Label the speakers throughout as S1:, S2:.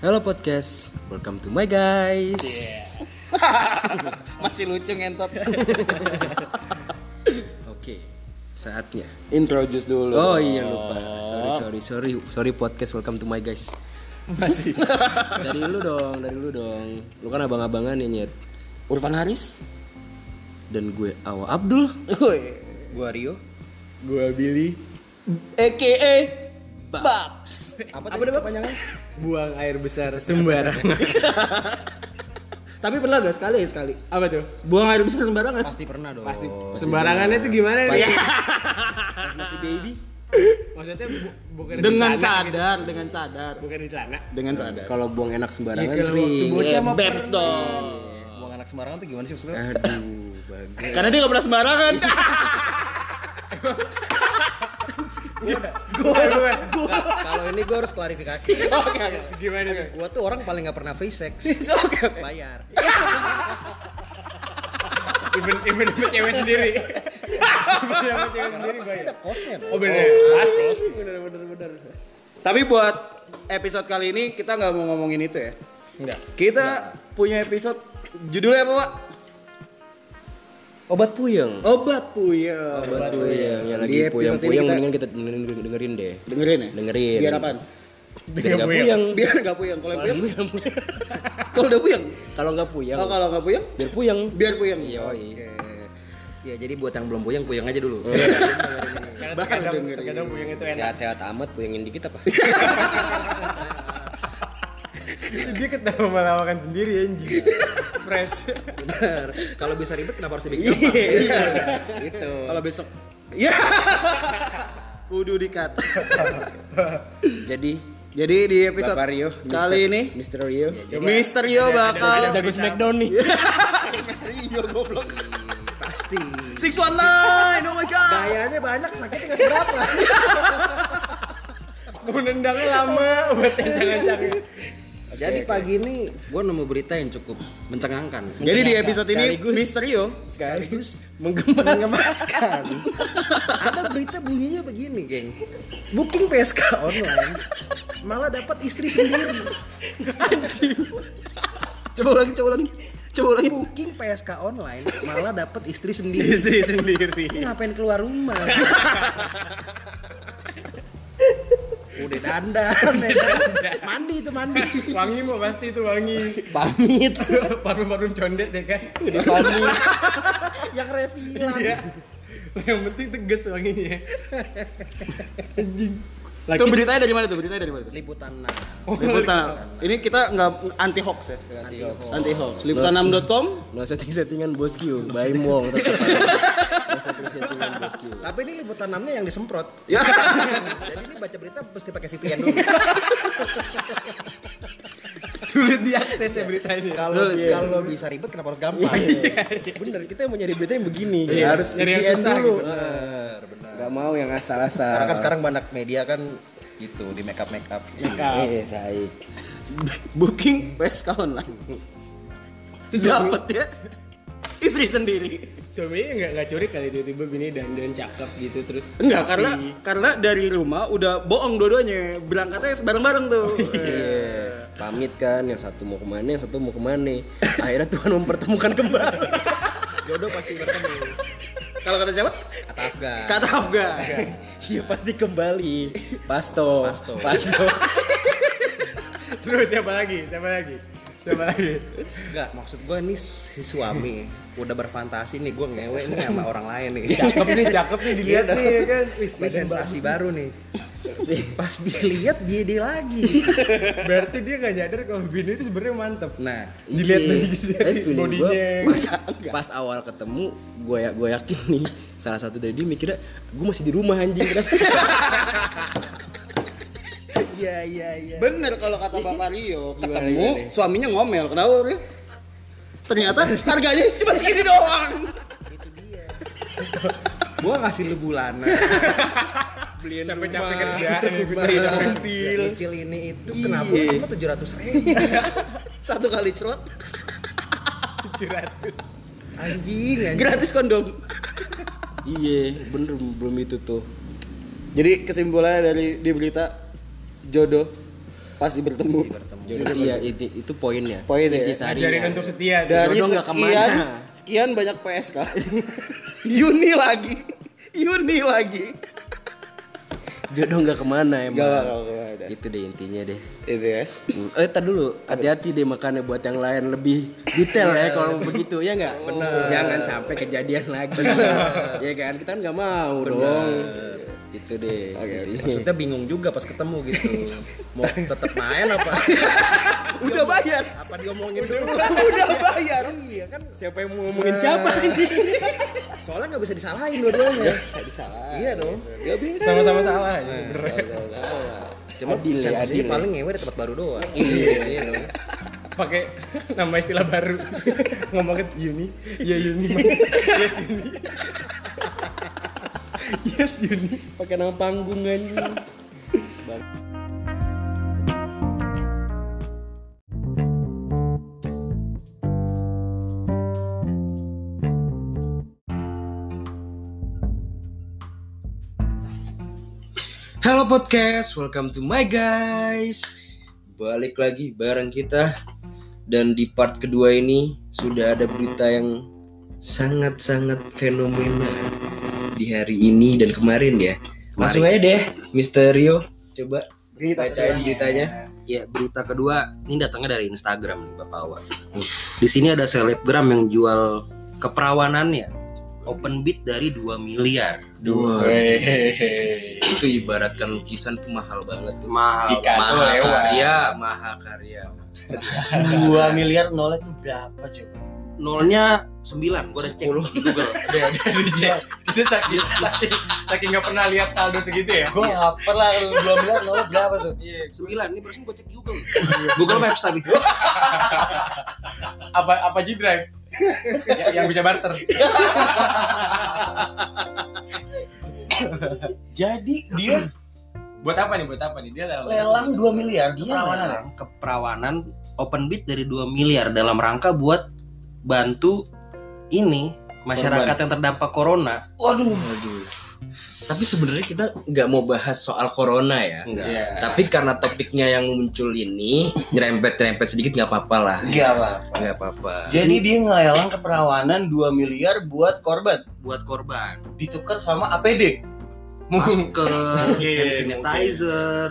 S1: Halo podcast, welcome to my guys.
S2: Masih lucu ngentot.
S1: Oke, saatnya.
S2: Introduce dulu.
S1: Oh iya lupa, sorry sorry sorry sorry podcast, welcome to my guys.
S2: Masih.
S1: Dari lu dong, dari lu dong. Lu kan abang-abangan ya nyet.
S2: Urban Haris.
S1: Dan gue Awa Abdul.
S2: Woi.
S1: Gue Rio.
S3: Gua Billy.
S2: AKA Babs.
S1: Apa tadi kepanjangan?
S3: Buang air besar sembarangan.
S2: Tapi pernah gak sekali sekali?
S3: Apa tuh? Oh,
S2: Buang air besar sembarangan.
S1: Pasti pernah dong.
S3: Pasti sembarangannya itu gimana nih?
S1: Pas masih baby.
S3: Maksudnya bu- bukan di
S2: Dengan
S3: celana, gitu?
S2: sadar, dengan sadar.
S3: bukan di celana.
S2: Dengan sadar.
S1: Kalau buang enak sembarangan
S3: Iya, kalau waktu
S1: sering.
S3: buang-
S2: Eh,
S3: Bocah mah
S2: Babs dong.
S4: Buang anak sembarangan tuh gimana sih maksudnya?
S1: Aduh, bagus.
S2: Karena dia gak pernah sembarangan.
S4: Gue, gue, Kalau ini gue harus klarifikasi.
S2: Oke, oke.
S3: Gimana tuh?
S4: Gue tuh orang paling gak pernah free sex. Bayar.
S3: Even even sama cewek sendiri. even sama cewek sendiri baik.
S4: Ada
S1: ya,
S4: kosnya.
S3: Oh benar. Pasti. Benar benar benar.
S2: Tapi buat episode kali ini kita nggak mau ngomongin itu ya.
S3: Enggak.
S2: Kita punya episode judulnya apa, Pak?
S1: Obat puyeng.
S2: Obat puyeng.
S1: Obat puyeng. Ya
S2: Di
S1: lagi
S2: episode
S1: puyeng-puyeng
S2: ini kita-
S1: mendingan kita dengerin, dengerin deh.
S2: Dengerin ya?
S1: Dengerin.
S2: Biar apaan?
S1: Biar nggak
S3: puyeng.
S1: puyeng.
S2: Biar nggak puyeng. Kalau yang
S1: Kalau
S2: puyeng,
S1: nggak puyeng.
S2: kalau udah puyeng.
S1: Kalau nggak puyeng,
S2: Oh, kalau nggak Oh, puyeng,
S1: biar puyeng.
S2: biar puyeng.
S1: Iya,
S2: Oke.
S1: iya.
S4: Ya jadi buat yang belum puyeng, puyeng aja
S1: Oh,
S4: dulu.
S3: Karena terkadang terkadang puyeng itu enak.
S1: Sehat-sehat amat puyengin dikit apa?
S3: Dia ketawa melawakan sendiri anjing. Fresh.
S4: Bener. Kalau bisa ribet kenapa harus ribet?
S2: Iya.
S4: Gitu.
S2: Kalau besok, ya. Kudu dikat.
S1: Jadi
S2: Jadi di episode
S1: Bapak Rio, Mister-
S2: kali ini,
S1: Mister Rio.
S2: Mister Yo bakal
S3: Jago Smackdown nih.
S2: Mister Yo goblok.
S4: Pasti.
S2: Six One Nine, oh my god.
S4: Gayanya banyak, sakitnya gak seberapa.
S3: Menendangnya lama buat kencang-kencang.
S4: Jadi pagi ini gue nemu berita yang cukup mencengangkan.
S2: Jadi di episode ini Mister Yo
S4: Sekaligus
S2: menggemas.
S4: mengemaskan. Ada berita bunyinya begini, geng. Booking PSK online malah dapat istri sendiri.
S2: Coba ulangi, coba ulangi. Coba ulangi.
S4: Booking PSK online malah dapat istri sendiri.
S3: Istri sendiri.
S4: Ngapain keluar rumah? Udah dandan, ya kan? mandi itu mandi.
S3: Wangi mau pasti itu wangi.
S4: Pamit.
S3: Parfum-parfum condet ya kan.
S4: Yang refilan.
S3: Iya. Yang penting tegas wanginya. Anjing.
S2: Itu beritanya dari mana tuh? Beritanya dari mana tuh?
S4: Liputan
S2: Liputan. Ini kita nggak anti hoax ya. Anti hoax. Liputan6.com.
S1: No setting settingan bos Q, by Wong. tetep. No setting settingan bos Q.
S4: Tapi ini liputan 6 yang disemprot.
S2: Ya.
S4: Jadi ini baca berita mesti pakai VPN dulu.
S3: Sulit diakses ya berita ini.
S4: Kalau kalau bisa ribet kenapa harus gampang?
S1: Bener, kita mau nyari berita yang begini.
S3: Iya,
S1: Harus
S3: nyari yang
S1: VPN
S3: susah
S1: dulu.
S3: gitu.
S4: Bener, bener.
S1: Gak mau yang
S4: Karena kan
S1: asal-asal.
S4: sekarang banyak media kan gitu di make up make up.
S1: Eh, saik.
S2: Booking PSK online. Terus dapat ya. Istri sendiri.
S3: Suaminya nggak nggak curi kali tiba-tiba bini dan dan cakep gitu terus.
S2: Enggak, karena karena dari rumah udah bohong dua-duanya. Berangkatnya bareng-bareng tuh.
S3: Oh,
S1: Iya, pamit kan yang satu mau kemana, yang satu mau kemana. Akhirnya Tuhan mempertemukan kembali.
S4: Jodoh pasti bertemu.
S2: Kalau kata siapa?
S4: Kata Afgan.
S2: Kata Afgan.
S1: Iya pasti kembali. Pasto.
S4: Pasto.
S1: Pasto.
S3: Terus siapa lagi? Siapa lagi? Siapa lagi?
S4: Enggak, maksud gue nih si suami udah berfantasi nih gue ngewe nih sama orang lain nih.
S3: Cakep nih, cakep nih dilihat
S4: Iya dong.
S3: nih ya kan. Wih,
S4: Ini
S3: badan
S4: sensasi baru nih. Pas dilihat dia dia lagi.
S3: bagus. Berarti dia nggak nyadar kalau bini itu sebenarnya mantep.
S4: Nah,
S3: Dilihat
S1: Iya.
S3: dari
S1: Tapi
S3: dari
S1: feeling gua,
S3: bodinya.
S1: pas awal ketemu gue ya gue yakin nih salah satu dari dia mikirnya gue masih di rumah anjing
S4: iya iya iya.
S2: Bener kalau kata Bapak Rio,
S5: Iya,
S3: Gimana,
S2: ketemu
S3: gimana?
S2: suaminya ngomel. Kenapa Rio? Ternyata harganya cuma segini doang.
S4: Gue ngasih lu bulanan.
S3: Beliin capek-capek kerja.
S4: Beli mobil. Kecil
S3: Iya.
S4: ini itu kenapa cuma tujuh ratus ribu?
S2: Satu kali cerot.
S4: Anjing, anjing.
S5: Gratis kondom.
S6: Iya, bener belum itu tuh.
S5: Jadi kesimpulannya dari di berita jodoh pasti bertemu.
S6: Jodoh, iya, itu, itu poinnya.
S5: Poinnya ya.
S6: Inti seharinya.
S3: Ngajarin untuk setia
S1: Iya,
S3: dia.
S5: Dari
S6: Jodoh nggak
S5: sekian
S6: kemana.
S5: sekian banyak PSK. Yuni lagi. Yuni lagi.
S6: Jodoh nggak kemana emang.
S5: Gak ada.
S6: Itu deh intinya deh.
S5: Itu ya.
S6: Hmm. Eh, tar dulu, hati-hati deh makannya buat yang lain lebih detail ya kalau begitu ya nggak. Jangan sampai kejadian lagi. ya kan, kita nggak mau dong. Itu deh. intinya.
S4: Maksudnya bingung juga pas ketemu gitu. Mau tetap main apa?
S6: Udah bayar.
S4: apa diomongin dulu?
S5: Udah bayar.
S4: Iya kan,
S6: Siapa yang mau ngomongin siapa ini?
S4: soalnya nggak bisa disalahin dua-duanya.
S5: Gak disalah.
S4: iya dong.
S5: Gak bisa.
S3: Sama-sama salah ya. bener.
S6: Cuma adil ya,
S4: Sensasinya
S6: adil. ya.
S4: paling ngewe di tempat baru doang.
S3: Pakai nama istilah baru. Ngomong ke Yuni. Ya Yuni. Mas. Yes Yuni. Yes Yuni.
S6: Pakai nama panggung anjing.
S1: Halo podcast, welcome to my guys. Balik lagi bareng kita dan di part kedua ini sudah ada berita yang sangat-sangat fenomena di hari ini dan kemarin ya. Langsung aja deh, Mr. Rio, coba bacain beritanya.
S2: Ya, berita kedua ini datangnya dari Instagram nih Bapak Awan. Di sini ada selebgram yang jual ya. keperawanannya. Open bid dari 2 miliar.
S1: Dua.
S3: Hehehe.
S1: Itu ibaratkan lukisan tuh mahal banget tuh.
S2: Mahal. mahal
S3: Picasso lewat.
S2: karya.
S1: Karya, maha karya.
S2: 2 miliar nolnya itu berapa coba? Nolnya 9, gua udah cek di Google.
S3: Udah, udah, udah. Itu saking saking saking nggak pernah lihat saldo segitu ya.
S2: Gua lapar lah kalau 2 miliar nolnya berapa tuh?
S1: Iya.
S2: 9, ini barusan gua cek di Google. Google Maps tapi.
S3: Apa apa G Drive? Ya, yang bisa barter.
S2: Jadi dia
S3: Buat apa nih? Buat apa nih? Dia dalam
S2: lelang 2 miliar dia
S3: Keperawanan.
S2: lelang keperawanan open bid dari 2 miliar dalam rangka buat bantu ini masyarakat
S3: Korban.
S2: yang terdampak corona. Waduh,
S1: Tapi sebenarnya kita nggak mau bahas soal corona ya.
S2: enggak.
S3: Iya.
S1: Tapi karena topiknya yang muncul ini nyerempet-nyerempet sedikit nggak apa-apa lah.
S2: Enggak, Pak.
S1: Nggak apa-apa.
S2: Jadi dia ngelelang keperawanan 2 miliar buat korban, buat korban. Ditukar sama APD, masker,
S3: Mungkin,
S2: hand sanitizer.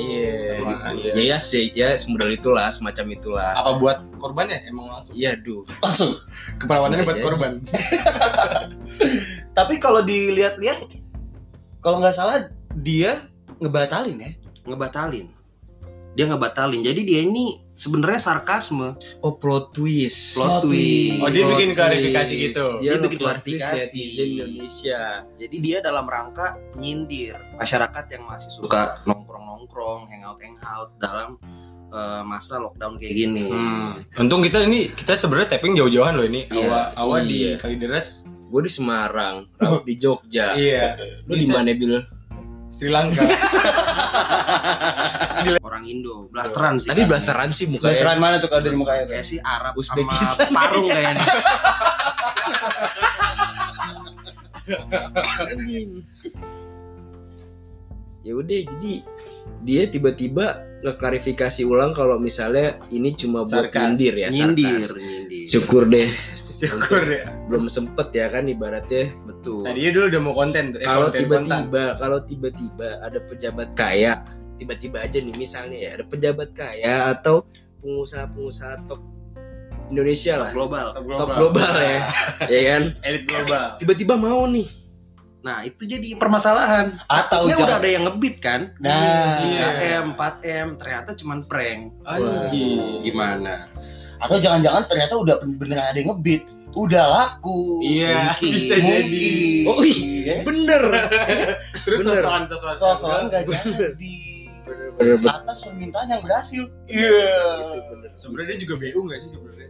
S1: Iya.
S3: Sama,
S1: gitu. Ya ya sih, ya semodal itulah, semacam itulah.
S3: apa buat korban ya emang langsung
S1: Iya, duh.
S2: Langsung.
S3: keperawanannya
S1: Bisa
S3: buat
S1: jadi.
S3: korban
S2: Tapi kalau dilihat-lihat kalau nggak salah dia ngebatalin ya, ngebatalin. Dia ngebatalin. Jadi dia ini sebenarnya sarkasme.
S1: Oh, plot twist.
S2: Plot twist.
S3: oh dia
S1: Plot
S3: bikin
S1: twist. Iya.
S3: klarifikasi gitu
S1: Dia,
S2: Dia
S1: bikin
S2: bikin
S1: klarifikasi
S2: klarifikasi.
S1: netizen Indonesia.
S2: Jadi dia dalam rangka nyindir masyarakat yang masih suka nongkrong-nongkrong, hangout-hangout dalam eh, masa lockdown kayak gini.
S3: hmm. untung kita ini kita sebenarnya tapping jauh-jauhan loh ini
S2: Iya.
S3: awa awa
S1: Iya.
S3: di Kalideres
S1: Gue di Semarang, Rauf di Jogja.
S3: iya
S1: Lu di mana, Bil?
S3: Sri Lanka
S2: Orang Indo, blasteran sih.
S1: Tadi blasteran sih mukanya.
S3: restoran mana tuh kalau dari mukanya tuh
S2: kayak si Arab
S1: Uzbekistan.
S2: sama parung kayaknya.
S1: ya udah jadi dia tiba-tiba ngeklarifikasi ulang kalau misalnya ini cuma buat
S3: Sarkas.
S1: nyindir ya
S2: nyindir,
S1: sarkas.
S2: nyindir.
S1: syukur deh
S3: syukur ya
S1: belum sempet ya kan ibaratnya
S2: Betul.
S3: tadinya dulu udah mau konten eh,
S1: kalau
S3: konten, konten.
S1: tiba-tiba kalau tiba-tiba ada pejabat kaya tiba-tiba aja nih misalnya ya ada pejabat kaya atau pengusaha-pengusaha top Indonesia lah
S2: Global. Iya
S3: Top
S1: top
S3: global.
S1: global ya ya kan
S3: elit global
S1: tiba-tiba mau nih
S2: Nah, itu jadi permasalahan. Atau ya udah ada yang ngebit kan?
S1: Iya.
S3: Nah.
S2: 3M, 4M, ternyata cuman prank.
S3: anjing
S2: Gimana?
S7: atau jangan-jangan ternyata udah beneran ada yang ngebit udah laku
S3: iya
S2: Mungkin,
S3: bisa jadi
S7: mungkin.
S1: oh iya bener
S3: terus
S1: Bener.
S3: sosokan sosokan
S7: soal-soal nggak jadi
S1: bener bener
S7: atas permintaan yang berhasil
S2: Iya.
S3: sebenarnya dia juga BU nggak sih sebenarnya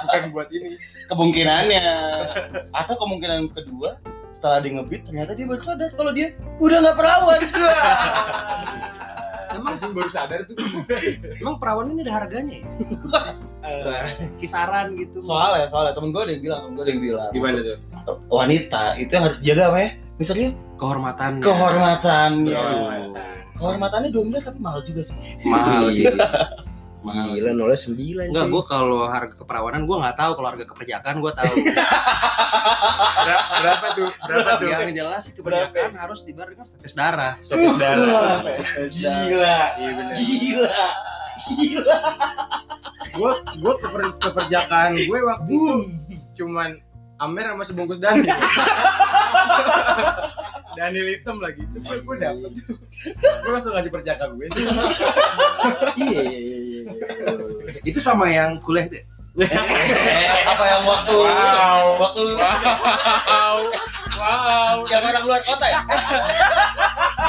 S3: bukan buat ini
S7: kemungkinannya atau kemungkinan kedua setelah dia ngebit ternyata dia bersaudara kalau dia udah nggak perawan
S2: Tapi Anjing baru sadar tuh.
S4: Emang perawan ini ada harganya ya?
S3: Eh,
S4: Kisaran gitu.
S2: soalnya soalnya ya, temen gue ada yang bilang temen gue ada yang bilang
S3: Gimana tuh?
S2: wanita itu yang harus dijaga apa ya misalnya
S4: Kehormatannya.
S2: kehormatan gitu
S3: Kehormatan.
S2: kehormatannya dua miliar tapi mahal juga sih
S4: Mahal sih. Mahal
S1: Gila
S4: sih.
S1: nolnya sembilan
S4: Enggak,
S1: cuy.
S4: gue kalau harga keperawanan gue nggak tahu, kalau harga keperjakaan gue tahu.
S3: Ber- berapa tuh? Berapa tuh?
S4: yang jelas sih keperjakaan harus dibayar dengan status darah.
S3: Status darah.
S2: gila
S3: Iya benar.
S2: gila gila
S3: Gue gue keper, keperjakaan gue waktu itu cuman Amer sama sebungkus Daniel. Daniel hitam lagi itu gue gue dapet. Gue langsung ngasih perjaka gue.
S4: Iya, iya, iya, iya. Itu sama yang kuliah deh.
S2: eh, apa yang waktu
S3: Wow.
S2: waktu
S3: Wow, wow.
S2: yang orang luar kota ya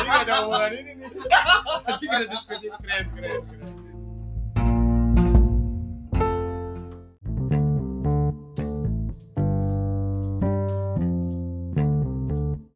S3: Jadi gak ada omongan ini nih. Jadi gak ada diskusi keren keren. keren.